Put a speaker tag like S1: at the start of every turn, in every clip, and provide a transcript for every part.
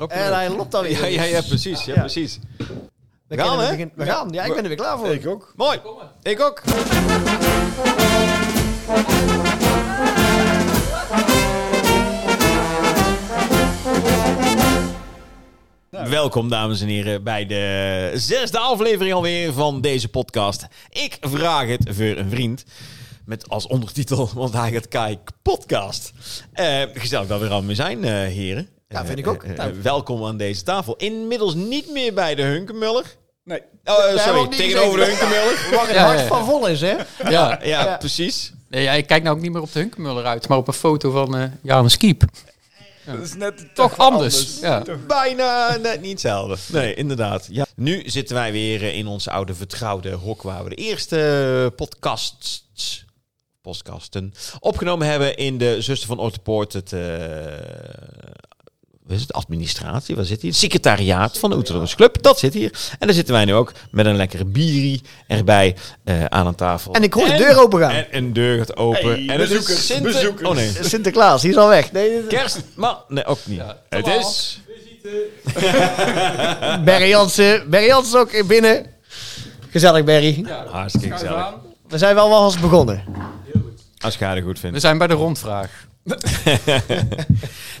S1: En hij loopt dan weer.
S2: Ja, ja, ja, precies. Ja,
S1: Ja.
S2: precies.
S1: We
S2: Gaan,
S1: gaan,
S2: hè?
S1: hè? We, gaan. Ja, ik ben er weer klaar voor.
S3: Ik ook.
S2: Mooi. Ik ook.
S1: Nou.
S2: Welkom, dames en heren, bij de zesde aflevering alweer van deze podcast. Ik vraag het voor een vriend. Met als ondertitel, want hij gaat kijk podcast. Eh, gezellig dat we er allemaal mee zijn, eh, heren.
S1: Ja, vind ik
S2: Eh,
S1: ook.
S2: eh, eh,
S1: Nou.
S2: welkom aan deze tafel. Inmiddels niet meer bij de Hunkemuller.
S3: Nee.
S2: Oh, eh, sorry,
S1: ook niet
S2: tegenover de
S1: gezeten.
S2: Hunkemuller.
S1: Waar het
S4: Ja,
S1: hart
S4: ja, ja.
S1: van vol is, hè?
S4: Ja.
S2: Ja,
S1: Ja.
S2: precies.
S4: Nee, ja, ik kijk nou ook niet meer op de Hunkemuller uit, maar op een foto van eh Janus Kiep.
S3: Dat is net
S4: Toch anders. Ja.
S2: Bijna net niet hetzelfde. Nee, inderdaad. Ja. Nu zitten wij weer eh, in ons oude vertrouwde hok waar we de eerste eh, podcasts, podcasten opgenomen hebben in de Zuster van Ortepoort. Het, eh, wat is het administratie, waar zit hier? Het secretariaat van de Oeterlandse Club, dat zit hier. En daar zitten wij nu ook met een lekkere bierie erbij eh, aan een tafel.
S1: En ik hoor de deur open gaan.
S2: En een deur gaat open.
S3: Hey,
S2: en het
S3: bezoekers,
S2: is Sinter-
S3: bezoekers.
S2: Oh nee,
S1: Sinterklaas, die is al weg. Nee, dit-
S2: kerst. Maar nee, ook niet. het
S4: toch
S2: is...
S1: Barry Jansen. Barry Jansen is ook binnen. Gezellig, Barry.
S2: Hartstikke gezellig.
S1: We zijn wel wel eens begonnen.
S2: Als jij het goed vindt.
S4: We zijn bij de rondvraag.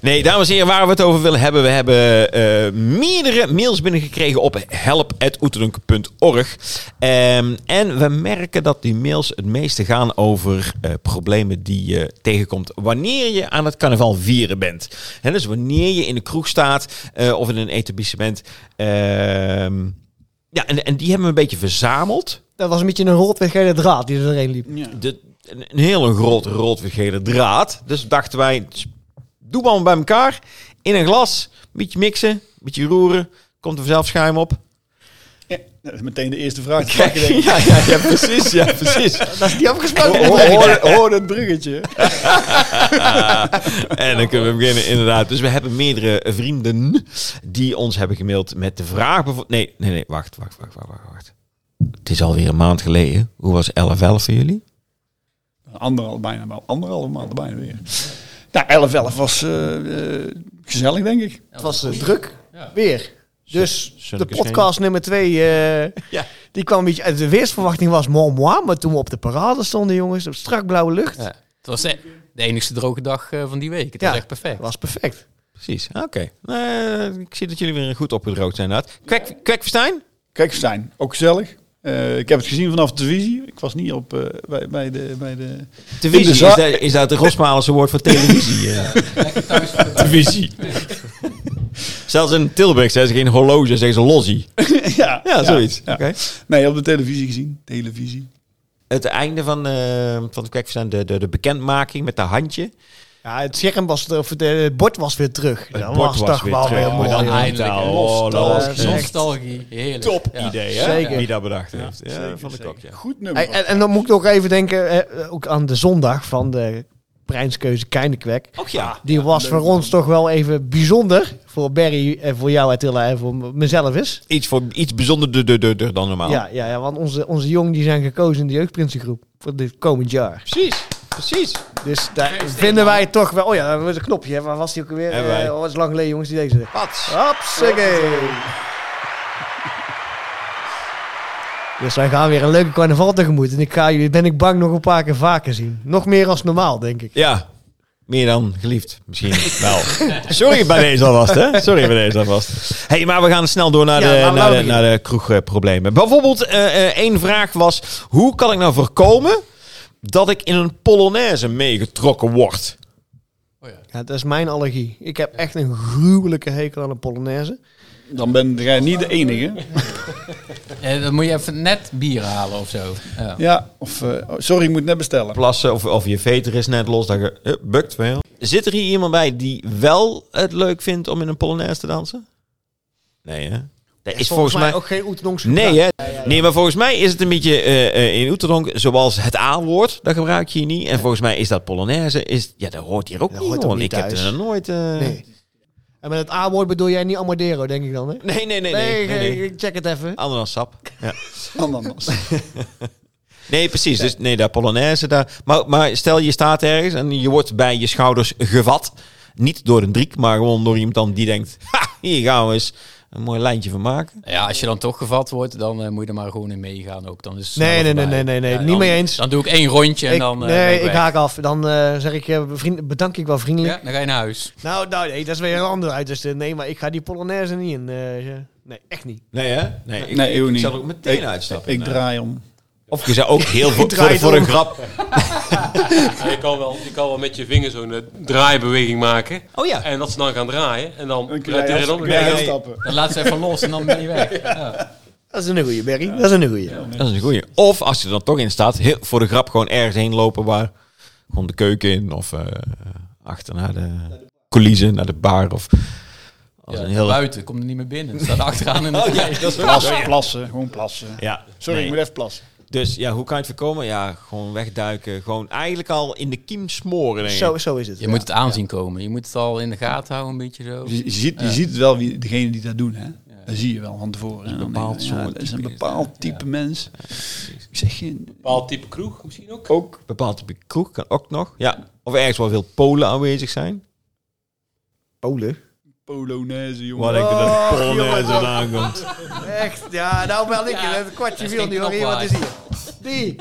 S2: Nee, dames en heren, waar we het over willen hebben. We hebben eh, meerdere mails binnengekregen op help.oeterunk.org. Ehm, en we merken dat die mails het meeste gaan over eh, problemen die je tegenkomt wanneer je aan het carnaval vieren bent. Hè, dus wanneer je in de kroeg staat eh, of in een etablissement. Ehm, ja, en, en die hebben we een beetje verzameld.
S1: Dat was een beetje een rotwegene draad die er doorheen liep.
S3: Ja.
S2: de, een, een hele grote roodvergele draad. Dus dachten wij, s- doe maar bij elkaar. In een glas, een beetje mixen, een beetje roeren. Komt er vanzelf schuim op.
S3: Ja, dat is meteen de eerste vraag. die ik denk.
S2: Ja, ja, ja, precies, ja, precies.
S1: Dat is niet afgesproken.
S2: Oh,
S3: Hoor, hoor, hoor dat bruggetje.
S2: En dan kunnen we beginnen, inderdaad. Dus we hebben meerdere vrienden die ons hebben gemaild met de vraag... bijvo- Nee, nee, nee, wacht, wacht, wacht, wacht, wacht, wacht. Het is alweer een maand geleden. Hoe was 11.11 voor jullie?
S3: Anderhalf, bijna, wel- anderhalve maand bijna weer. Nou, 11, 11 was eh, eh, gezellig, denk ik.
S1: Het was eh, druk. Weer. Dus de
S2: zullen we eens
S1: podcast nummer twee, eh,
S2: Ja.
S1: die kwam een beetje... uit De weersverwachting was moi moi, maar toen we op de parade stonden, jongens, op strak blauwe lucht,
S4: Ja. Het was de, de enigste droge dag eh, van die week. Het
S1: Ja.
S4: was echt perfect.
S1: was perfect.
S2: Precies, oké. Eh, ik zie dat jullie weer goed opgedroogd zijn, inderdaad. Kwek, Kwekverstein?
S3: Kijk, zijn ook gezellig. Eh, ik heb het gezien vanaf de televisie. Ik was niet op, eh, bij, bij de... Bij de...
S2: Televisie,
S3: In
S2: is,
S3: de za-
S2: dat, is dat de Rosmalense woord voor televisie? eh? televisie. Zelfs in Tilburg zeggen ze geen horloge, zeggen ze lozzie.
S3: ja,
S2: Ja, zoiets.
S3: ja.
S2: Oké.
S3: Nee, op de televisie gezien. Televisie.
S2: Het einde van, eh van het kwekverstaan, de, de, de bekendmaking met dat handje.
S1: Ja, het scherm was er, of het, eh, het bord was weer terug.
S2: Het
S1: dat
S2: bord
S1: was,
S2: was
S1: toch
S2: weer
S1: wel
S2: terug,
S1: weer
S2: maar
S1: mooi.
S2: dan
S1: jongens.
S4: Eindelijk.
S2: eindelijk. Oh, dat was
S1: Nostalgie.
S2: echt
S4: Eh, Nostalgie. Heerlijk.
S2: top
S4: Ja.
S2: idee, hè?
S1: Zeker.
S2: Wie dat bedacht heeft. Ja,
S3: Zeker,
S2: van de kok, ja.
S3: zeker. Goed nummer.
S1: Hey, en, en dan moet ik nog even denken, eh, ook aan de zondag van de prijskeuze Keindekwek.
S2: Och ja.
S1: Die was voor ons toch wel even bijzonder. Voor Barry en voor jou, Attila, en voor m- mezelf is.
S2: Iets, voor, iets bijzonderder dan normaal.
S1: Ja, ja, ja, want onze, onze jongen die zijn gekozen in de jeugdprinsengroep voor dit komend jaar.
S2: Precies, precies.
S1: Dus daar vinden wij toch wel... Oh ja, dat was een knopje. hè. Waar was die ook weer?
S2: Hebben wij.
S1: Eh, oh, het is lang geleden, jongens, die deze.
S2: Pats.
S1: Hapsakee. Dus wij gaan weer een leuke carnaval tegemoet. En ik ga jullie, ben ik bang, nog een paar keer vaker zien. Nog meer als normaal, denk ik.
S2: Ja, meer dan geliefd misschien wel. Sorry bij deze alvast, hè? Sorry bij deze alvast. hey, maar we gaan snel door naar
S1: Ja,
S2: de,
S1: laten we
S2: naar de,
S1: beginnen.
S2: naar de kroegproblemen. Bijvoorbeeld, eh, eh, één vraag was... Hoe kan ik nou voorkomen dat ik in een polonaise meegetrokken word?
S4: Oh, ja.
S1: Ja, dat is mijn allergie. Ik heb echt een gruwelijke hekel aan de Polonaise.
S3: Dan ben jij niet de enige.
S4: Eh, dan moet je even net bier halen of zo. Ja.
S3: Ja, of... eh, oh, sorry, ik moet net bestellen.
S2: Plassen of, of je veter is net los, dat je eh, bukt wel. Zit er hier iemand bij die wel het leuk vindt om in een polonaise te dansen? Nee, hè? Dat is volgens mij
S1: ook geen Oetenongs.
S2: Nee, hè? nee, maar volgens mij is het een beetje eh, eh, in Oeterdonk, zoals het A-woord, dat gebruik je hier niet. En volgens mij is dat Polonaise, is, ja, dat hoort hier ook
S1: Dat
S2: niet.
S1: hoort ook
S2: hoor.
S1: niet
S2: ik heb
S1: thuis.
S2: er nog nooit... eh,
S1: Nee. En met het A-woord bedoel jij niet Amadero, denk ik dan, hè?
S2: Nee, nee, nee, nee. nee, nee. Oh,
S1: ik check het even.
S2: Ananassap. Ja.
S3: Ananas.
S2: Nee, precies. Dus nee, daar Polonaise. Daar. Maar, maar stel je staat ergens en je wordt bij je schouders gevat. Niet door een driek, maar gewoon door iemand dan die denkt: Ha, hier gaan we eens een mooi lijntje van maken.
S4: Ja, als je dan toch gevat wordt, dan eh, moet je er maar gewoon in meegaan ook. Dan is het
S1: Nee,
S4: sneller
S1: nee,
S4: voorbij.
S1: nee, nee, nee,
S4: Ja,
S1: niet
S4: dan-
S1: mee eens.
S4: Dan doe ik één rondje en
S1: Ik-
S4: dan eh, ben
S1: nee, ik
S4: weg.
S1: haak af. Dan eh, zeg ik, eh, vriend, bedank ik wel vriendelijk.
S4: Ja, dan ga je naar huis.
S1: Nou, nou nee, dat is weer een ander uiterste. Nee, maar ik ga die Polonaise niet in. eh, ja. nee, echt niet.
S2: Nee, hè? Nee, ik,
S3: Nee,
S2: ik,
S3: eeuw niet.
S2: zal er ook meteen
S3: Ik-
S2: uitstappen.
S3: Ik
S2: Nee.
S3: draai om.
S2: Of je zou ook heel
S1: Ik
S2: voor,
S1: draai
S2: voor,
S1: het
S2: voor een
S1: om.
S2: grap.
S5: Ja, je, kan wel, je kan wel met je vinger zo'n eh, draaibeweging maken.
S2: Oh ja.
S5: En dat ze dan gaan draaien. En dan
S3: Dan kun
S5: rijdt
S3: jij
S5: iedereen
S3: als-
S5: op.
S3: kun jij
S2: Nee,
S3: uitstappen.
S4: Dan laat ze even los en dan ben je weg. Ja.
S1: Dat is een goeie, Berry. Dat is een goeie.
S2: Dat is een goeie. Of als je er dan toch in staat, heel, voor de grap gewoon ergens heen lopen waar... Gewoon de keuken in of eh, achter naar de coulissen, naar de bar of... Als
S4: Ja,
S2: een heel...
S4: Buiten, kom er niet meer binnen. Staat achteraan in de
S2: Oh ja,
S4: rij.
S2: dat is wel
S3: Plassen, plassen, gewoon plassen.
S2: Ja,
S3: Sorry,
S2: nee.
S3: ik moet even plassen.
S2: Dus ja, hoe kan je het voorkomen? Ja, gewoon wegduiken. Gewoon eigenlijk al in de kiem smoren, denk ik.
S1: Zo, zo is het.
S4: Je moet het aanzien komen. Je moet het al in de gaten houden, een beetje zo.
S3: Je, je ziet, je ziet wel wie degene die dat doen, hè? Dat zie je wel van tevoren. En dan denk je,
S2: bepaald
S3: ja,
S2: soort
S3: dat is een
S2: type is
S3: bepaald type mens. Ik zeg geen.
S5: Bepaald type kroeg misschien ook.
S2: Ook. Bepaald type kroeg kan ook nog. Ja. Of ergens waar veel Polen aanwezig zijn.
S1: Polen.
S3: Polonaise, jongen. Ah,
S2: Waar denk je dat Polonaise vandaan komt?
S1: Echt, ja, nou bel ik je. Het kwartje
S4: dat is
S1: viel
S4: geen
S1: nu al hier. Wat is hier? Die.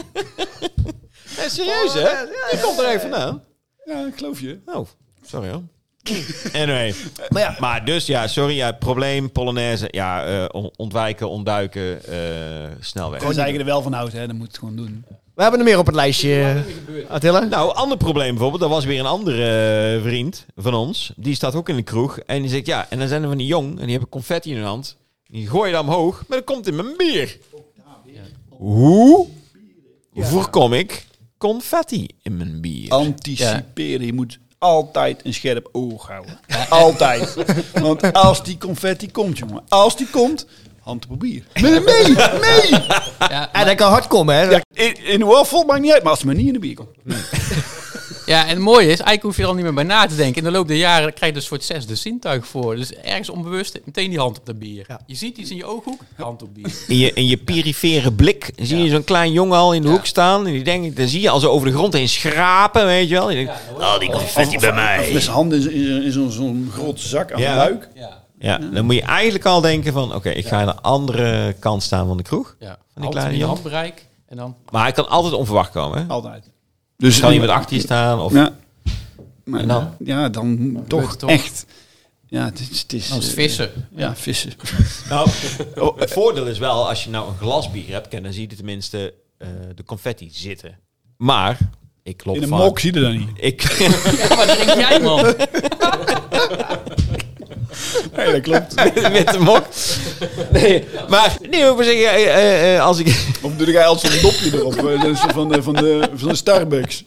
S2: Nee, serieus, hè? Die komt er even vandaan.
S3: Ja, ik geloof je.
S2: Oh, sorry hoor. Anyway. Maar, ja. maar dus, ja, sorry. Ja, probleem, Polonaise. Ja, eh, on- ontwijken, ontduiken, eh snel weg.
S3: Als je er wel van houdt, hè? Dan moet het gewoon doen.
S1: We hebben er meer op het lijstje, Attila.
S2: Nou, ander probleem bijvoorbeeld. Er was weer een andere eh, vriend van ons. Die staat ook in de kroeg. En die zegt, ja, en dan zijn er van die jong. En die hebben confetti in hun hand. Die gooien dan omhoog. Maar dat komt in mijn bier. Hoe voorkom ik confetti in mijn bier?
S3: Anticiperen. Je moet altijd een scherp oog houden. Altijd. Want als die confetti komt, jongen. Als die komt, hand op bier. Nee, nee, nee.
S4: Ja,
S1: En dat kan hard komen, hè?
S3: Ja, in, in de waffle maakt niet uit, maar als het maar niet in de bier komt.
S4: Ja, en het mooie is, eigenlijk hoef je er al niet meer bij na te denken. In de loop der jaren krijg je dus voor het zesde zintuig voor. Dus ergens onbewust meteen die hand op dat bier.
S1: Ja.
S4: Je ziet iets in je ooghoek, hand op bier.
S2: In je, in je perifere blik zie je zo'n klein jongen al in de
S4: Ja.
S2: hoek staan. En die denkt, dan zie je al zo over de grond heen schrapen, weet je wel. Die denkt, oh, die confetti bij
S3: Of
S2: mij.
S3: met zijn handen in, zo- in, zo- in zo'n zo'n grote zak aan
S2: Ja.
S3: de luik.
S4: Ja.
S2: Ja, dan moet je eigenlijk al denken van, oké, ik ga aan de andere kant staan van de kroeg.
S4: ja.
S2: die kleine
S4: in je
S2: Jan.
S4: handbereik. En dan,
S2: Maar hij kan altijd onverwacht komen. Hè?
S3: Altijd. Dus
S2: Kan iemand achter je staan? Of...
S3: Ja. Maar
S2: En dan?
S3: dan? Ja, dan
S4: gebeurt
S3: toch
S4: het toch?
S3: echt. Ja, het is... Het is
S4: dan is het
S3: eh,
S4: vissen.
S3: Ja, vissen.
S2: Nou, het voordeel is wel, als je nou een glas bier hebt, kijk, dan zie je tenminste eh, de confetti zitten. Maar, ik klop
S3: In een
S2: vaak-
S3: mok zie je dat niet.
S2: Ik,
S4: Ja, wat drink jij,
S2: Nou,
S4: man?
S3: Nee, dat klopt.
S2: met de mok. Nee, maar nee, maar ik zeg, eh, eh, eh, als ik...
S3: Of doe jij altijd zo'n dopje erop. eh, dat is Van de, van de, van de Starbucks.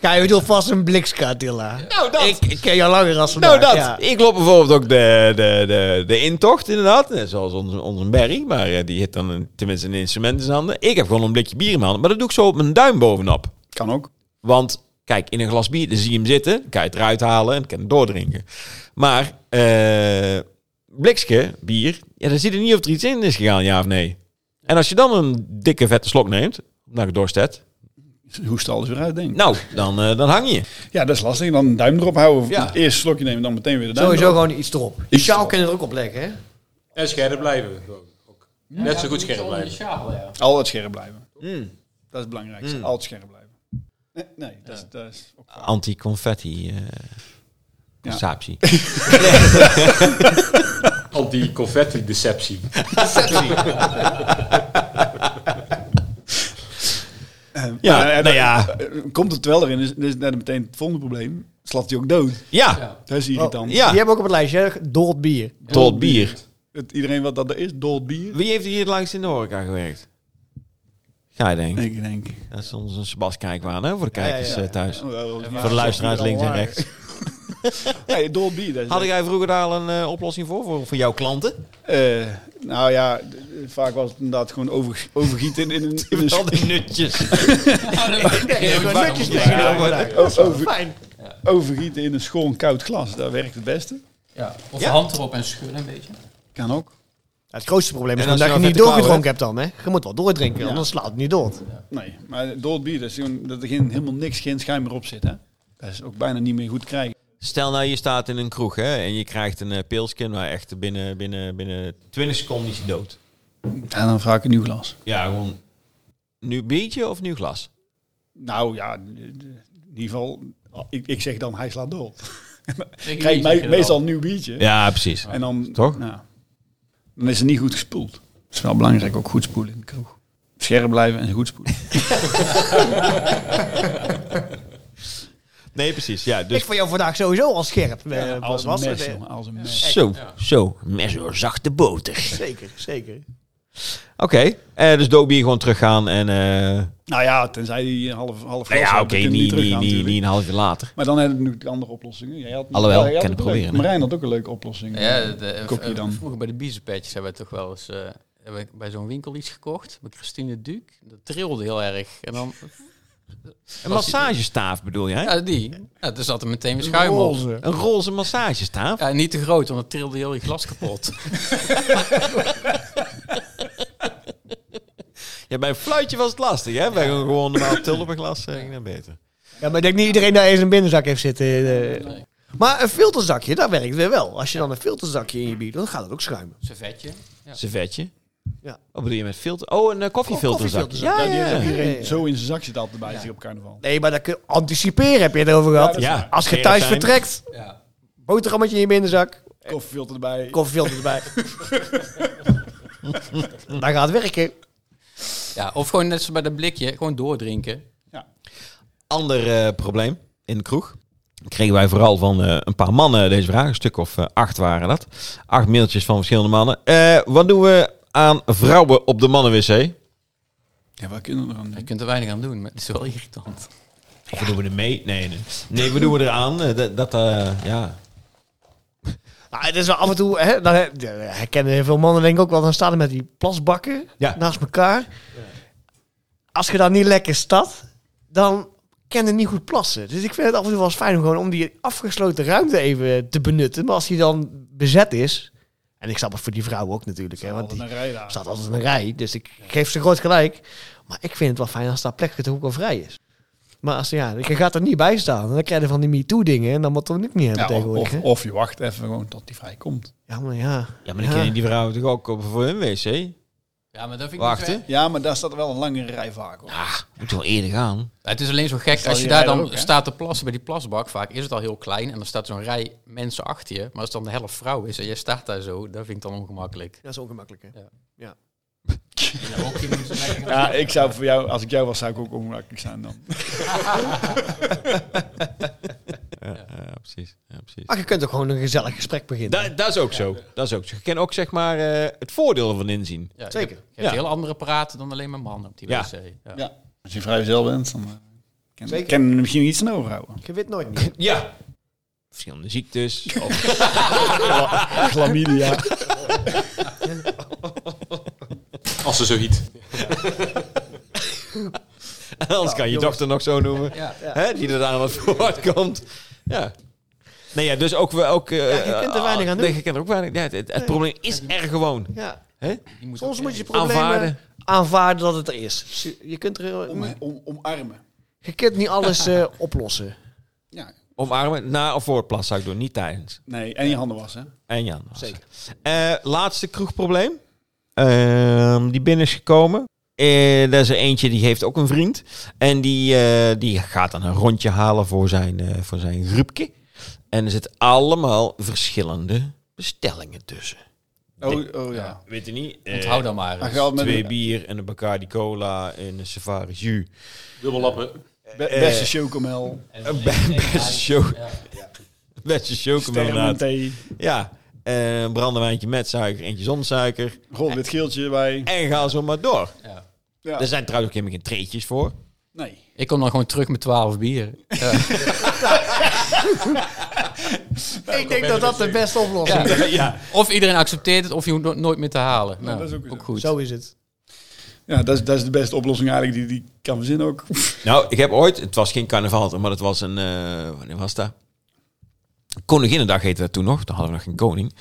S1: Ja, je bedoelt vast een blikske, Attila.
S2: Nou, dat...
S1: Ik, ik ken jou langer als vandaag.
S2: nou, dat.
S1: ja.
S2: Ik loop bijvoorbeeld ook de, de, de, de intocht, inderdaad. Net Zoals onze, onze Barry, maar eh, die heeft dan een, tenminste een instrument in zijn handen. Ik heb gewoon een blikje bier in mijn handen, maar dat doe ik zo op mijn duim bovenop.
S3: Kan ook.
S2: Want kijk, in een glas bier dan zie je hem zitten, kan je het eruit halen en kan je het doordrinken. Maar eh blikske bier, ja, dan zie je niet of er iets in is gegaan, ja of nee. En als je dan een dikke vette slok neemt, omdat ik doorstet,
S3: Hoe stel alles weer uit, denk ik.
S2: nou, dan, eh, dan hang je.
S3: Ja, dat is lastig. Dan een duim erop houden. Of
S2: Ja.
S3: Eerst een slokje nemen, dan meteen weer de duim
S1: Sowieso
S3: erop.
S1: gewoon iets erop.
S3: Iets
S1: Sjaal
S3: erop.
S1: kun je er ook op leggen, hè?
S5: En scherp blijven. gewoon. Ook. Net zo goed scherp blijven.
S3: Altijd scherp blijven.
S2: Mm.
S3: Dat is het belangrijkste.
S2: Mm.
S3: Altijd scherp blijven. Nee, nee dat, is, dat is ook waar.
S2: Anti-confetti. eh consatie.
S5: Anti-confetti-deceptie.
S2: Ja,
S3: Eh,
S2: nou
S3: dan-
S2: ja.
S3: eh, Komt het wel erin, is, is net meteen het volgende probleem. Slaat hij ook dood.
S2: Ja,
S3: Dat is irritant.
S2: Oh, Ja.
S1: Die hebben we ook op het lijstje, hè? Door het bier.
S2: tot bier.
S3: Het, iedereen wat dat er is, dood bier.
S2: Wie heeft hier het langst in de horeca gewerkt? Ga je denken.
S3: Ik denk.
S2: Dat is onze Sebas kijkwaan, hè, voor de
S1: ja, ja.
S2: kijkers eh, thuis.
S3: Wel,
S2: Voor de luisteraars links en rechts.
S3: Ja, dood bier. Dat is
S2: Had jij vroeger daar een eh, oplossing voor, voor, voor jouw klanten?
S3: Eh, nou ja, d- eh, vaak was het inderdaad gewoon over, overgieten in, in, een- in
S1: Dus-
S3: een...
S2: Wel de nutjes.
S1: Gewoon netjes
S2: Ja,
S1: tegen elkaar.
S2: ja, ja.
S1: Dat is wel
S3: Over-
S1: Fijn.
S3: Overgieten in een schoon koud glas, dat werkt het beste.
S4: Ja, of
S2: Ja.
S4: hand erop en schudden een beetje.
S3: Kan ook.
S1: Het grootste probleem is
S2: En als
S1: gewoon
S2: je
S1: dat je
S2: nou
S1: niet
S2: vette
S1: doorgedronken hebt dan, hè? Je moet wel doordrinken,
S3: Ja.
S1: anders slaat het niet door.
S3: Nee, maar dood bier, dat is gewoon dat er geen, helemaal niks, geen schuim meer op zit. Hè? Dat is ook bijna niet meer goed te krijgen.
S2: Stel nou, je staat in een kroeg hè, en je krijgt een eh, pilskin, maar echt binnen, binnen, binnen 20 seconden is je dood.
S3: En Nou, dan vraag ik een nieuw glas.
S2: Ja, gewoon nieuw biertje of nieuw glas?
S3: Nou ja, in ieder geval, oh, ik, ik zeg dan hij slaat door.
S4: Ik
S3: Ik krijg me- meestal een nieuw biertje.
S2: Ja, precies.
S3: En dan,
S2: Toch?
S3: nou, dan is het niet goed gespoeld. Het is wel belangrijk, ook goed spoelen in de kroeg. Scherp blijven en goed spoelen.
S2: Nee, precies. Ja, dus
S1: Ik vond jou vandaag sowieso al scherp. eh,
S3: als een
S1: was het,
S3: mes,
S1: eh.
S3: jongen, als een mes.
S2: zo, zo, mes door zachte boter.
S1: Zeker, zeker.
S2: Oké, eh, dus doodbier gewoon teruggaan en... eh
S3: Nou ja, tenzij die half half
S2: nou
S3: glas
S2: ja,
S3: had,
S2: oké,
S3: dan kunnen we
S2: niet, niet,
S3: teruggaan
S2: niet,
S3: natuurlijk.
S2: niet een half uur later.
S3: Maar dan hebben we natuurlijk andere oplossingen. Jij had,
S2: Alhoewel,
S3: jij had
S2: kan
S3: ook
S2: het
S3: een
S2: proberen, hè?
S3: Leuk, Marijn had ook een leuke oplossing.
S4: Ja,
S3: eh,
S4: de- de-
S3: kokkie
S4: v-
S3: dan.
S4: vroeger bij de biezenpetjes hebben we toch wel eens eh, hebben we bij zo'n winkel iets gekocht. Bij Christine Duc. Dat trilde heel erg. En dan,
S2: Een massagestaaf bedoel jij?
S4: ja, die. Ja, er zat er meteen weer schuim op.
S1: Roze.
S2: Een roze massagestaaf?
S4: Ja, niet te groot, want het trilde heel je glas kapot.
S2: Ja, bij een fluitje was het lastig, hè? Bij een gewoon normaal tulpenglas eh, ging dat beter.
S1: Ja, maar ik denk niet iedereen daar eens een binnenzak heeft zitten. eh. Maar een filterzakje, dat werkt weer wel. Als je dan een filterzakje in je bier doet, dan gaat het ook schuimen.
S4: Servetje. Ja.
S2: Servetje.
S1: Ja.
S2: Wat bedoel je met filter? Oh, een eh, koffiefilterzakje.
S1: Koffie-
S2: Ja, ja,
S3: Die heeft
S1: koffiefilterzakje.
S2: ja.
S3: iedereen
S1: Ja, ja.
S3: zo in zijn zak zit altijd bij zich op carnaval.
S1: Nee, maar dat kun anticiperen, heb je het over gehad.
S3: dat
S2: Ja.
S1: Als je thuis
S2: Zijn.
S1: vertrekt,
S4: Ja.
S1: boterhammetje in je binnenzak,
S3: Koffiefilter erbij.
S1: koffiefilter erbij. dan gaat het werken.
S4: ja, of gewoon net zoals bij dat blikje, gewoon doordrinken.
S2: Ander eh, probleem in de kroeg. Kregen wij vooral van eh, een paar mannen deze vraag. Een stuk of eh, acht waren dat. Acht mailtjes van verschillende mannen. Eh, wat doen we aan vrouwen op de mannenwc?
S3: ja, wat kunnen we er aan
S4: Je
S3: doen?
S4: kunt er weinig aan doen, maar het is wel irritant.
S2: Of wat doen we er mee? Nee, nee. Nee, wat doen we eraan? Eh, dat, dat eh, ja.
S1: Nou, het is wel af en toe, hè, dan he- herkennen veel mannen denk ik ook wel, dan staan er met die plasbakken
S2: Ja.
S1: naast elkaar. Als je dan niet lekker staat, dan kan je niet goed plassen. Dus ik vind het af en toe wel eens fijn om gewoon om die afgesloten ruimte even te benutten. Maar als die dan bezet is, en ik snap het voor die vrouw ook natuurlijk, hè, want
S3: Altijd
S1: die
S3: een rij daar.
S1: staat altijd in een rij, dus ik geef ze groot gelijk. Maar ik vind het wel fijn als daar plekje toch ook al vrij is. Maar als, ja, je gaat er niet bij staan, dan krijg je van die MeToo dingen en dan moet dat ook niet hebben
S3: Ja, of,
S1: tegenwoordig.
S3: of,
S1: hè.
S3: of je wacht even gewoon tot die vrij komt.
S1: Ja, maar ja.
S2: Ja, maar dan kennen die vrouwen toch ook op voor hun wc?
S4: Ja, maar dat vind ik dus
S2: Wacht, hè.
S4: niet
S3: Ja, maar daar staat wel een langere rij vaak op.
S2: Ah, moet wel eerder gaan.
S4: Ja, Het is alleen zo gek,
S3: Stel
S4: als je
S3: die
S4: daar
S3: rij
S4: dan
S3: er ook, hè?
S4: staat te plassen bij die plasbak, vaak is het al heel klein en dan staat zo'n rij mensen achter je. Maar als dan de helft vrouw is en jij staat daar zo, dat vind ik dan ongemakkelijk.
S1: Dat is ongemakkelijk, hè?
S3: Ja, ik zou voor jou, als ik jou was, zou ik ook ongemakkelijk zijn dan.
S2: Ja, ja, precies. Ja, precies.
S1: Maar je kunt ook gewoon een gezellig gesprek beginnen.
S2: Da- dat is ook zo. Dat is ook zo. Je kan ook zeg maar eh, het voordeel ervan inzien.
S4: Ja,
S1: Zeker.
S4: Je hebt, je hebt
S2: Ja.
S4: heel andere praten dan alleen maar mannen op die
S2: Ja.
S4: wc. Ja.
S3: Ja. Als je vrijgezel bent, dan eh, kan,
S1: Zeker.
S3: kan je er misschien iets aan overhouden.
S1: Je weet nooit meer.
S2: Ja. Verschillende ziektes. Of,
S3: Chlamydia.
S5: Als ze zo hiet.
S2: anders kan je
S1: jongens.
S2: dochter nog zo noemen.
S4: Ja.
S2: Hè, die er aan het woord komt. Ja. Nee, ja, dus ook... we- ook eh,
S1: je kunt er weinig aan
S2: Nee,
S1: doen.
S2: je kunt er ook weinig... Ja, het het, het probleem is er gewoon.
S1: Ja.
S2: Hè?
S4: Die moet
S1: Soms
S4: ook-
S1: moet
S4: ja,
S1: je problemen aanvaarden.
S2: Aanvaarden.
S1: dat het er is. Je kunt, er,
S3: Om, om, omarmen.
S1: je kunt niet alles eh, oplossen.
S3: Ja.
S2: Omarmen na of voor het plas zou ik doen. Niet tijdens.
S3: Nee, en je handen wassen.
S2: En Jan. was
S1: Zeker.
S2: het. Eh, laatste kroegprobleem. Ehm, die binnen is gekomen. Eh er is er eentje die heeft ook een vriend. En die, eh, die gaat dan een rondje halen voor zijn, eh, voor zijn groepje. En er zitten allemaal verschillende bestellingen tussen.
S3: Oh, oh ja.
S2: Weet je niet? eh,
S4: Onthoud dan maar.
S3: Hij
S4: eens.
S3: gaat met
S2: twee
S3: een
S2: bier en een Bacardi Cola en een Safari Jus.
S5: Dubbellappen.
S3: be- beste chocomel,
S2: Een beste show. Beste show, inderdaad.
S3: thee,
S2: Ja. Eh, Een brandewijntje met suiker, eentje zonder suiker.
S3: rood wit geeltje erbij.
S2: En ga zo maar door.
S4: Ja.
S3: Ja.
S2: Er zijn trouwens ook helemaal geen treetjes voor.
S3: Nee.
S4: Ik kom dan gewoon terug met 12 bier. Ja.
S1: ik denk dat dat de beste oplossing
S4: Ja.
S1: is.
S2: ja.
S4: Of iedereen accepteert het, of je hoeft no- nooit meer te halen. Nou,
S3: dat is ook weer zo.
S4: goed.
S1: Zo is het.
S3: Ja, dat is, dat is de beste oplossing eigenlijk die, die kan verzinnen ook.
S2: Nou, ik heb ooit, het was geen carnaval, maar het was een, eh wanneer was dat? Koninginnedag heette dat toen nog, toen hadden we nog geen koning.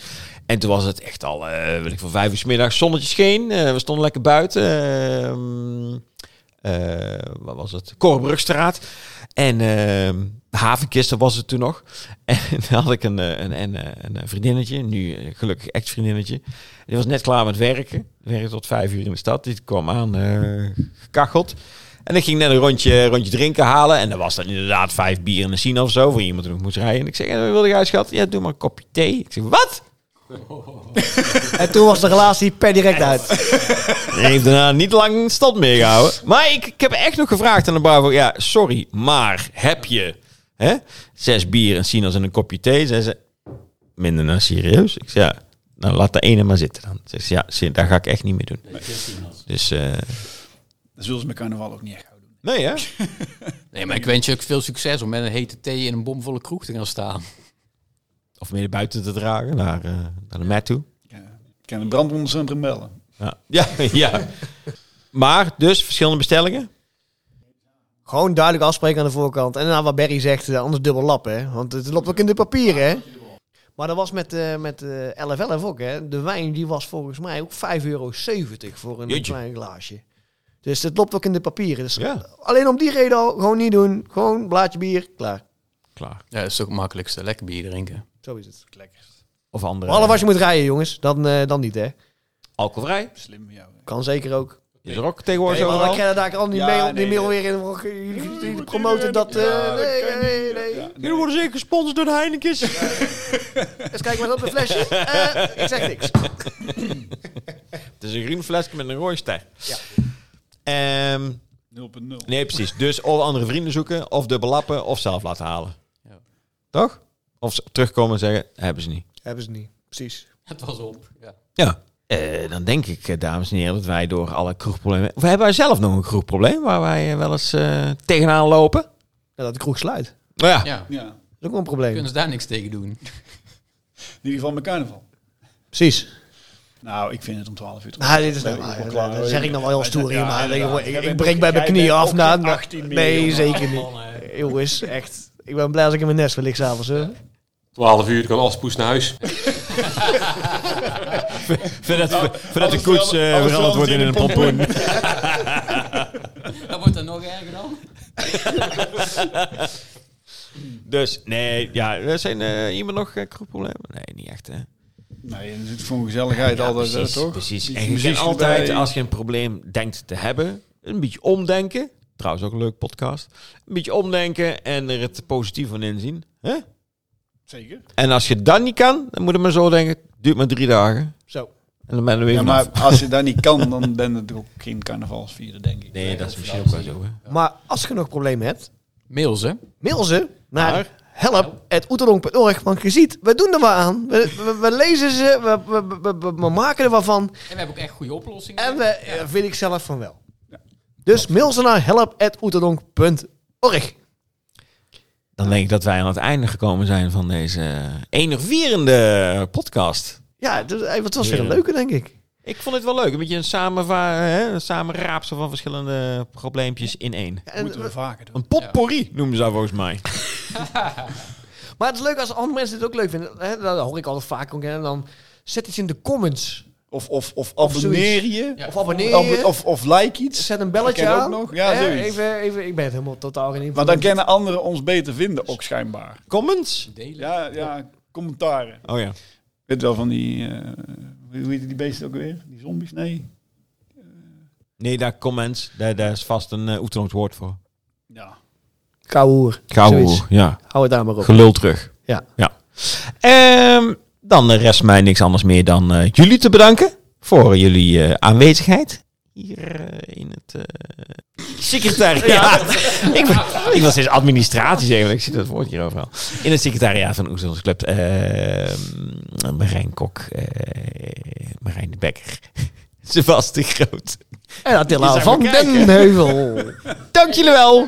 S2: En toen was het echt al, eh weet ik van vijf uur 's middags, zonnetje scheen, eh, we stonden lekker buiten. ehm, eh, wat was het? Korbrugstraat. En ehm, havenkisten was het toen nog. En dan had ik een, eh, een, een, eh, een vriendinnetje, nu eh, gelukkig ex-vriendinnetje. Die was net klaar met werken. Werkte tot vijf uur in de stad. Die kwam aan, eh, gekacheld. En ik ging net een rondje, rondje drinken halen. En dan was dat inderdaad vijf bier en een sien of zo. Voor iemand die nog moest rijden. En ik zeg, eh, wil je uitschat? Ja, doe maar een kopje thee. Ik zeg, wat?
S1: En toen was de relatie per direct uit.
S2: En heeft daarna niet lang stand meer gehouden. Maar ik, ik heb echt nog gevraagd aan de bar van... Ja, sorry, maar heb je hè, zes bier en sinaas en een kopje thee? Zei ze, minder dan serieus? Ik zei, ja, nou laat de ene maar zitten dan. Zegt ze, ja, zie, daar ga ik echt niet mee doen. Dus, eh,
S3: Dat zullen ze met carnaval ook niet echt houden.
S2: nee hè?
S4: Nee, maar ik wens je ook veel succes om met een hete thee in een bomvolle kroeg te gaan staan.
S2: Of meer naar buiten te dragen, naar, eh, naar de mat toe.
S3: Ik, eh, Ik kan een brandwondencentrum bellen.
S2: Ja, ja. ja. Maar, dus, verschillende bestellingen.
S1: Gewoon duidelijk afspreken aan de voorkant. En daarna wat Barry zegt, eh, anders dubbel lap, hè. Want het loopt ook in de papieren, hè. Maar dat was met, eh met eh, LFLF ook, hè. De wijn die was volgens mij ook 5,70 euro voor een
S2: Jeetje.
S1: klein glaasje. Dus het loopt ook in de papieren. Dus
S2: Ja.
S1: alleen om die reden al, gewoon niet doen. Gewoon blaadje bier, klaar.
S2: Klaar.
S4: Ja, dat is ook het makkelijkste. Lekker bier drinken.
S1: Zo is het.
S2: Of andere.
S1: Behalve als je moet rijden, jongens. Dan, eh, dan niet, hè.
S2: Alcoholvrij.
S3: Slim van jou. hè.
S1: Kan zeker ook.
S2: Is er ook tegenwoordig
S1: Nee, maar dan
S2: overal.
S1: krijg je daar al die
S3: Ja,
S1: mail, die
S3: nee,
S1: mail
S3: nee.
S1: weer in. och, jullie- jullie Promoten dat... eh,
S3: Ja, dat
S1: nee,
S3: kan
S1: nee,
S3: niet.
S1: nee.
S3: Ja,
S2: Jullie worden zeker gesponsord door de Heineken's.
S1: Eens kijken wat op een flesje. Eh, ik zeg niks.
S2: Het is een groen flesje met een rode ster.
S1: Ja.
S2: Ehm,
S3: 0.0.
S2: nee, precies. Dus of andere vrienden zoeken, of dubbel lappen, of zelf laten halen.
S4: Ja.
S2: Toch? Of ze terugkomen en zeggen, hebben ze niet.
S1: Hebben ze niet. Precies.
S4: Het was op. Ja.
S2: Ja. Eh, dan denk ik, eh, dames en heren, dat wij door alle kroegproblemen... Of hebben wij zelf nog een kroegprobleem waar wij eh, wel eens eh, tegenaan lopen?
S1: Ja, dat de kroeg sluit. Dat
S2: Nou ja.
S4: ja.
S3: Ja, in
S1: is ook wel een probleem.
S4: Kunnen ze daar niks tegen doen?
S3: ieder geval met carnaval.
S1: Precies.
S3: Nou, ik vind het om 12 uur te
S1: Nou, dit is
S3: Nee,
S1: nou,
S3: ik ben
S1: ah,
S3: klaar.
S1: dat zeg ik nog wel heel stoer hier,
S3: Ja,
S1: maar
S3: inderdaad.
S1: jongen, ik,
S3: Jij
S1: ik
S3: bent
S1: breek
S3: ook-
S1: bij mijn
S3: jij
S1: knieën
S3: bent
S1: af
S3: ook
S1: na...
S3: geen
S1: na-
S3: 18 meer,
S1: Nee,
S3: jongen.
S1: zeker niet. Jongens, echt. Ik ben blij als ik in mijn nest wil liggen s'avonds. hè.
S5: 12 uur, je kan afspoes naar huis.
S2: Voordat, voordat de
S3: alles
S2: koets eh,
S3: wel-
S2: veranderd
S3: alles wel
S2: wordt in een
S3: in een
S2: pompoen.
S4: Dat wordt dan nog erger dan?
S2: Dus, nee, ja. er Zijn eh, iemand nog eh, kroegproblemen? Nee, niet echt, hè?
S3: Nee, het is gewoon gezelligheid altijd,
S2: precies,
S3: eh, toch?
S2: Precies.
S3: Die
S2: En je
S3: muziek
S2: kan altijd,
S3: erbij.
S2: als je een probleem denkt te hebben, een beetje omdenken. Trouwens ook een leuk podcast. Een beetje omdenken en er het positief van inzien. hè?
S3: Zeker.
S2: En als je dan niet kan, dan moet je maar zo denken. Duurt maar drie dagen.
S1: Zo.
S2: En dan ben je er weer
S3: Ja,
S2: vanaf.
S3: maar als je dat niet kan, dan ben het ook geen carnavalsvieren, denk ik.
S2: Nee, dat is misschien ook wel zo. Hè?
S1: Maar als je nog problemen hebt,
S4: Mails, hè?
S1: mail ze naar help.oeterlong.org. Want je ziet, we doen er wat aan. We, we, we lezen ze, we, we- we- we- we maken er wat van.
S4: En we hebben ook echt goede oplossingen.
S1: En we, eh, vind ik zelf van wel. Dus mail ze naar help.oeterdonk.org.
S2: Dan denk ik dat wij aan het einde gekomen zijn van deze enerverende podcast.
S1: Ja, dus, eh, het was weer een
S2: Ja.
S1: leuke, denk ik.
S2: Ik vond dit wel leuk. Een beetje een, samenva- hè, een samenraapsel van verschillende probleempjes in één.
S1: Ja,
S3: Dat
S1: en- eh,
S3: moeten we vaker doen.
S2: Een potpourri noemen ze dat volgens mij.
S1: maar het is leuk als andere mensen dit ook leuk vinden. Hè, dat hoor ik altijd vaak. ook, hè, En dan zet iets in de comments.
S3: Of, of, of
S1: Of
S3: abonneer je.
S4: Ja.
S1: Of abonneer
S3: Of,
S1: je.
S3: of, of like iets.
S1: zet een belletje
S3: Dat ken ik
S1: aan.
S3: ook nog. Ja,
S1: Hè,
S3: zoiets.
S1: even, even, ik ben het helemaal totaal geen
S3: Maar dan kennen anderen ons beter vinden, ook schijnbaar.
S2: Comments?
S4: Delen.
S3: Ja, ja, commentaren.
S2: Oh ja.
S3: Weet wel van die... eh, hoe heet die beesten ook weer? Die zombies? Nee.
S2: Nee, daar comments. Daar, daar is vast een uh, woord voor.
S3: Ja.
S1: Kouwoer. Zoiets.
S2: ja.
S1: Hou het daar maar op.
S2: Gelul terug.
S1: Ja.
S2: ja. Ehm, dan rest mij niks anders meer dan eh, jullie te bedanken voor jullie eh, aanwezigheid. Hier eh, in het eh, secretariaat. ik, wil- ik wil steeds administratie zeggen, want ik zie dat woord hier overal. In het secretariaat van Oezelandse Club. eh, Marijn Kok. eh, Marijn de Bekker. Sebastian Groot.
S1: En Attila
S2: zijn
S1: van
S2: bekijken.
S1: den Heuvel.
S2: Dank jullie wel.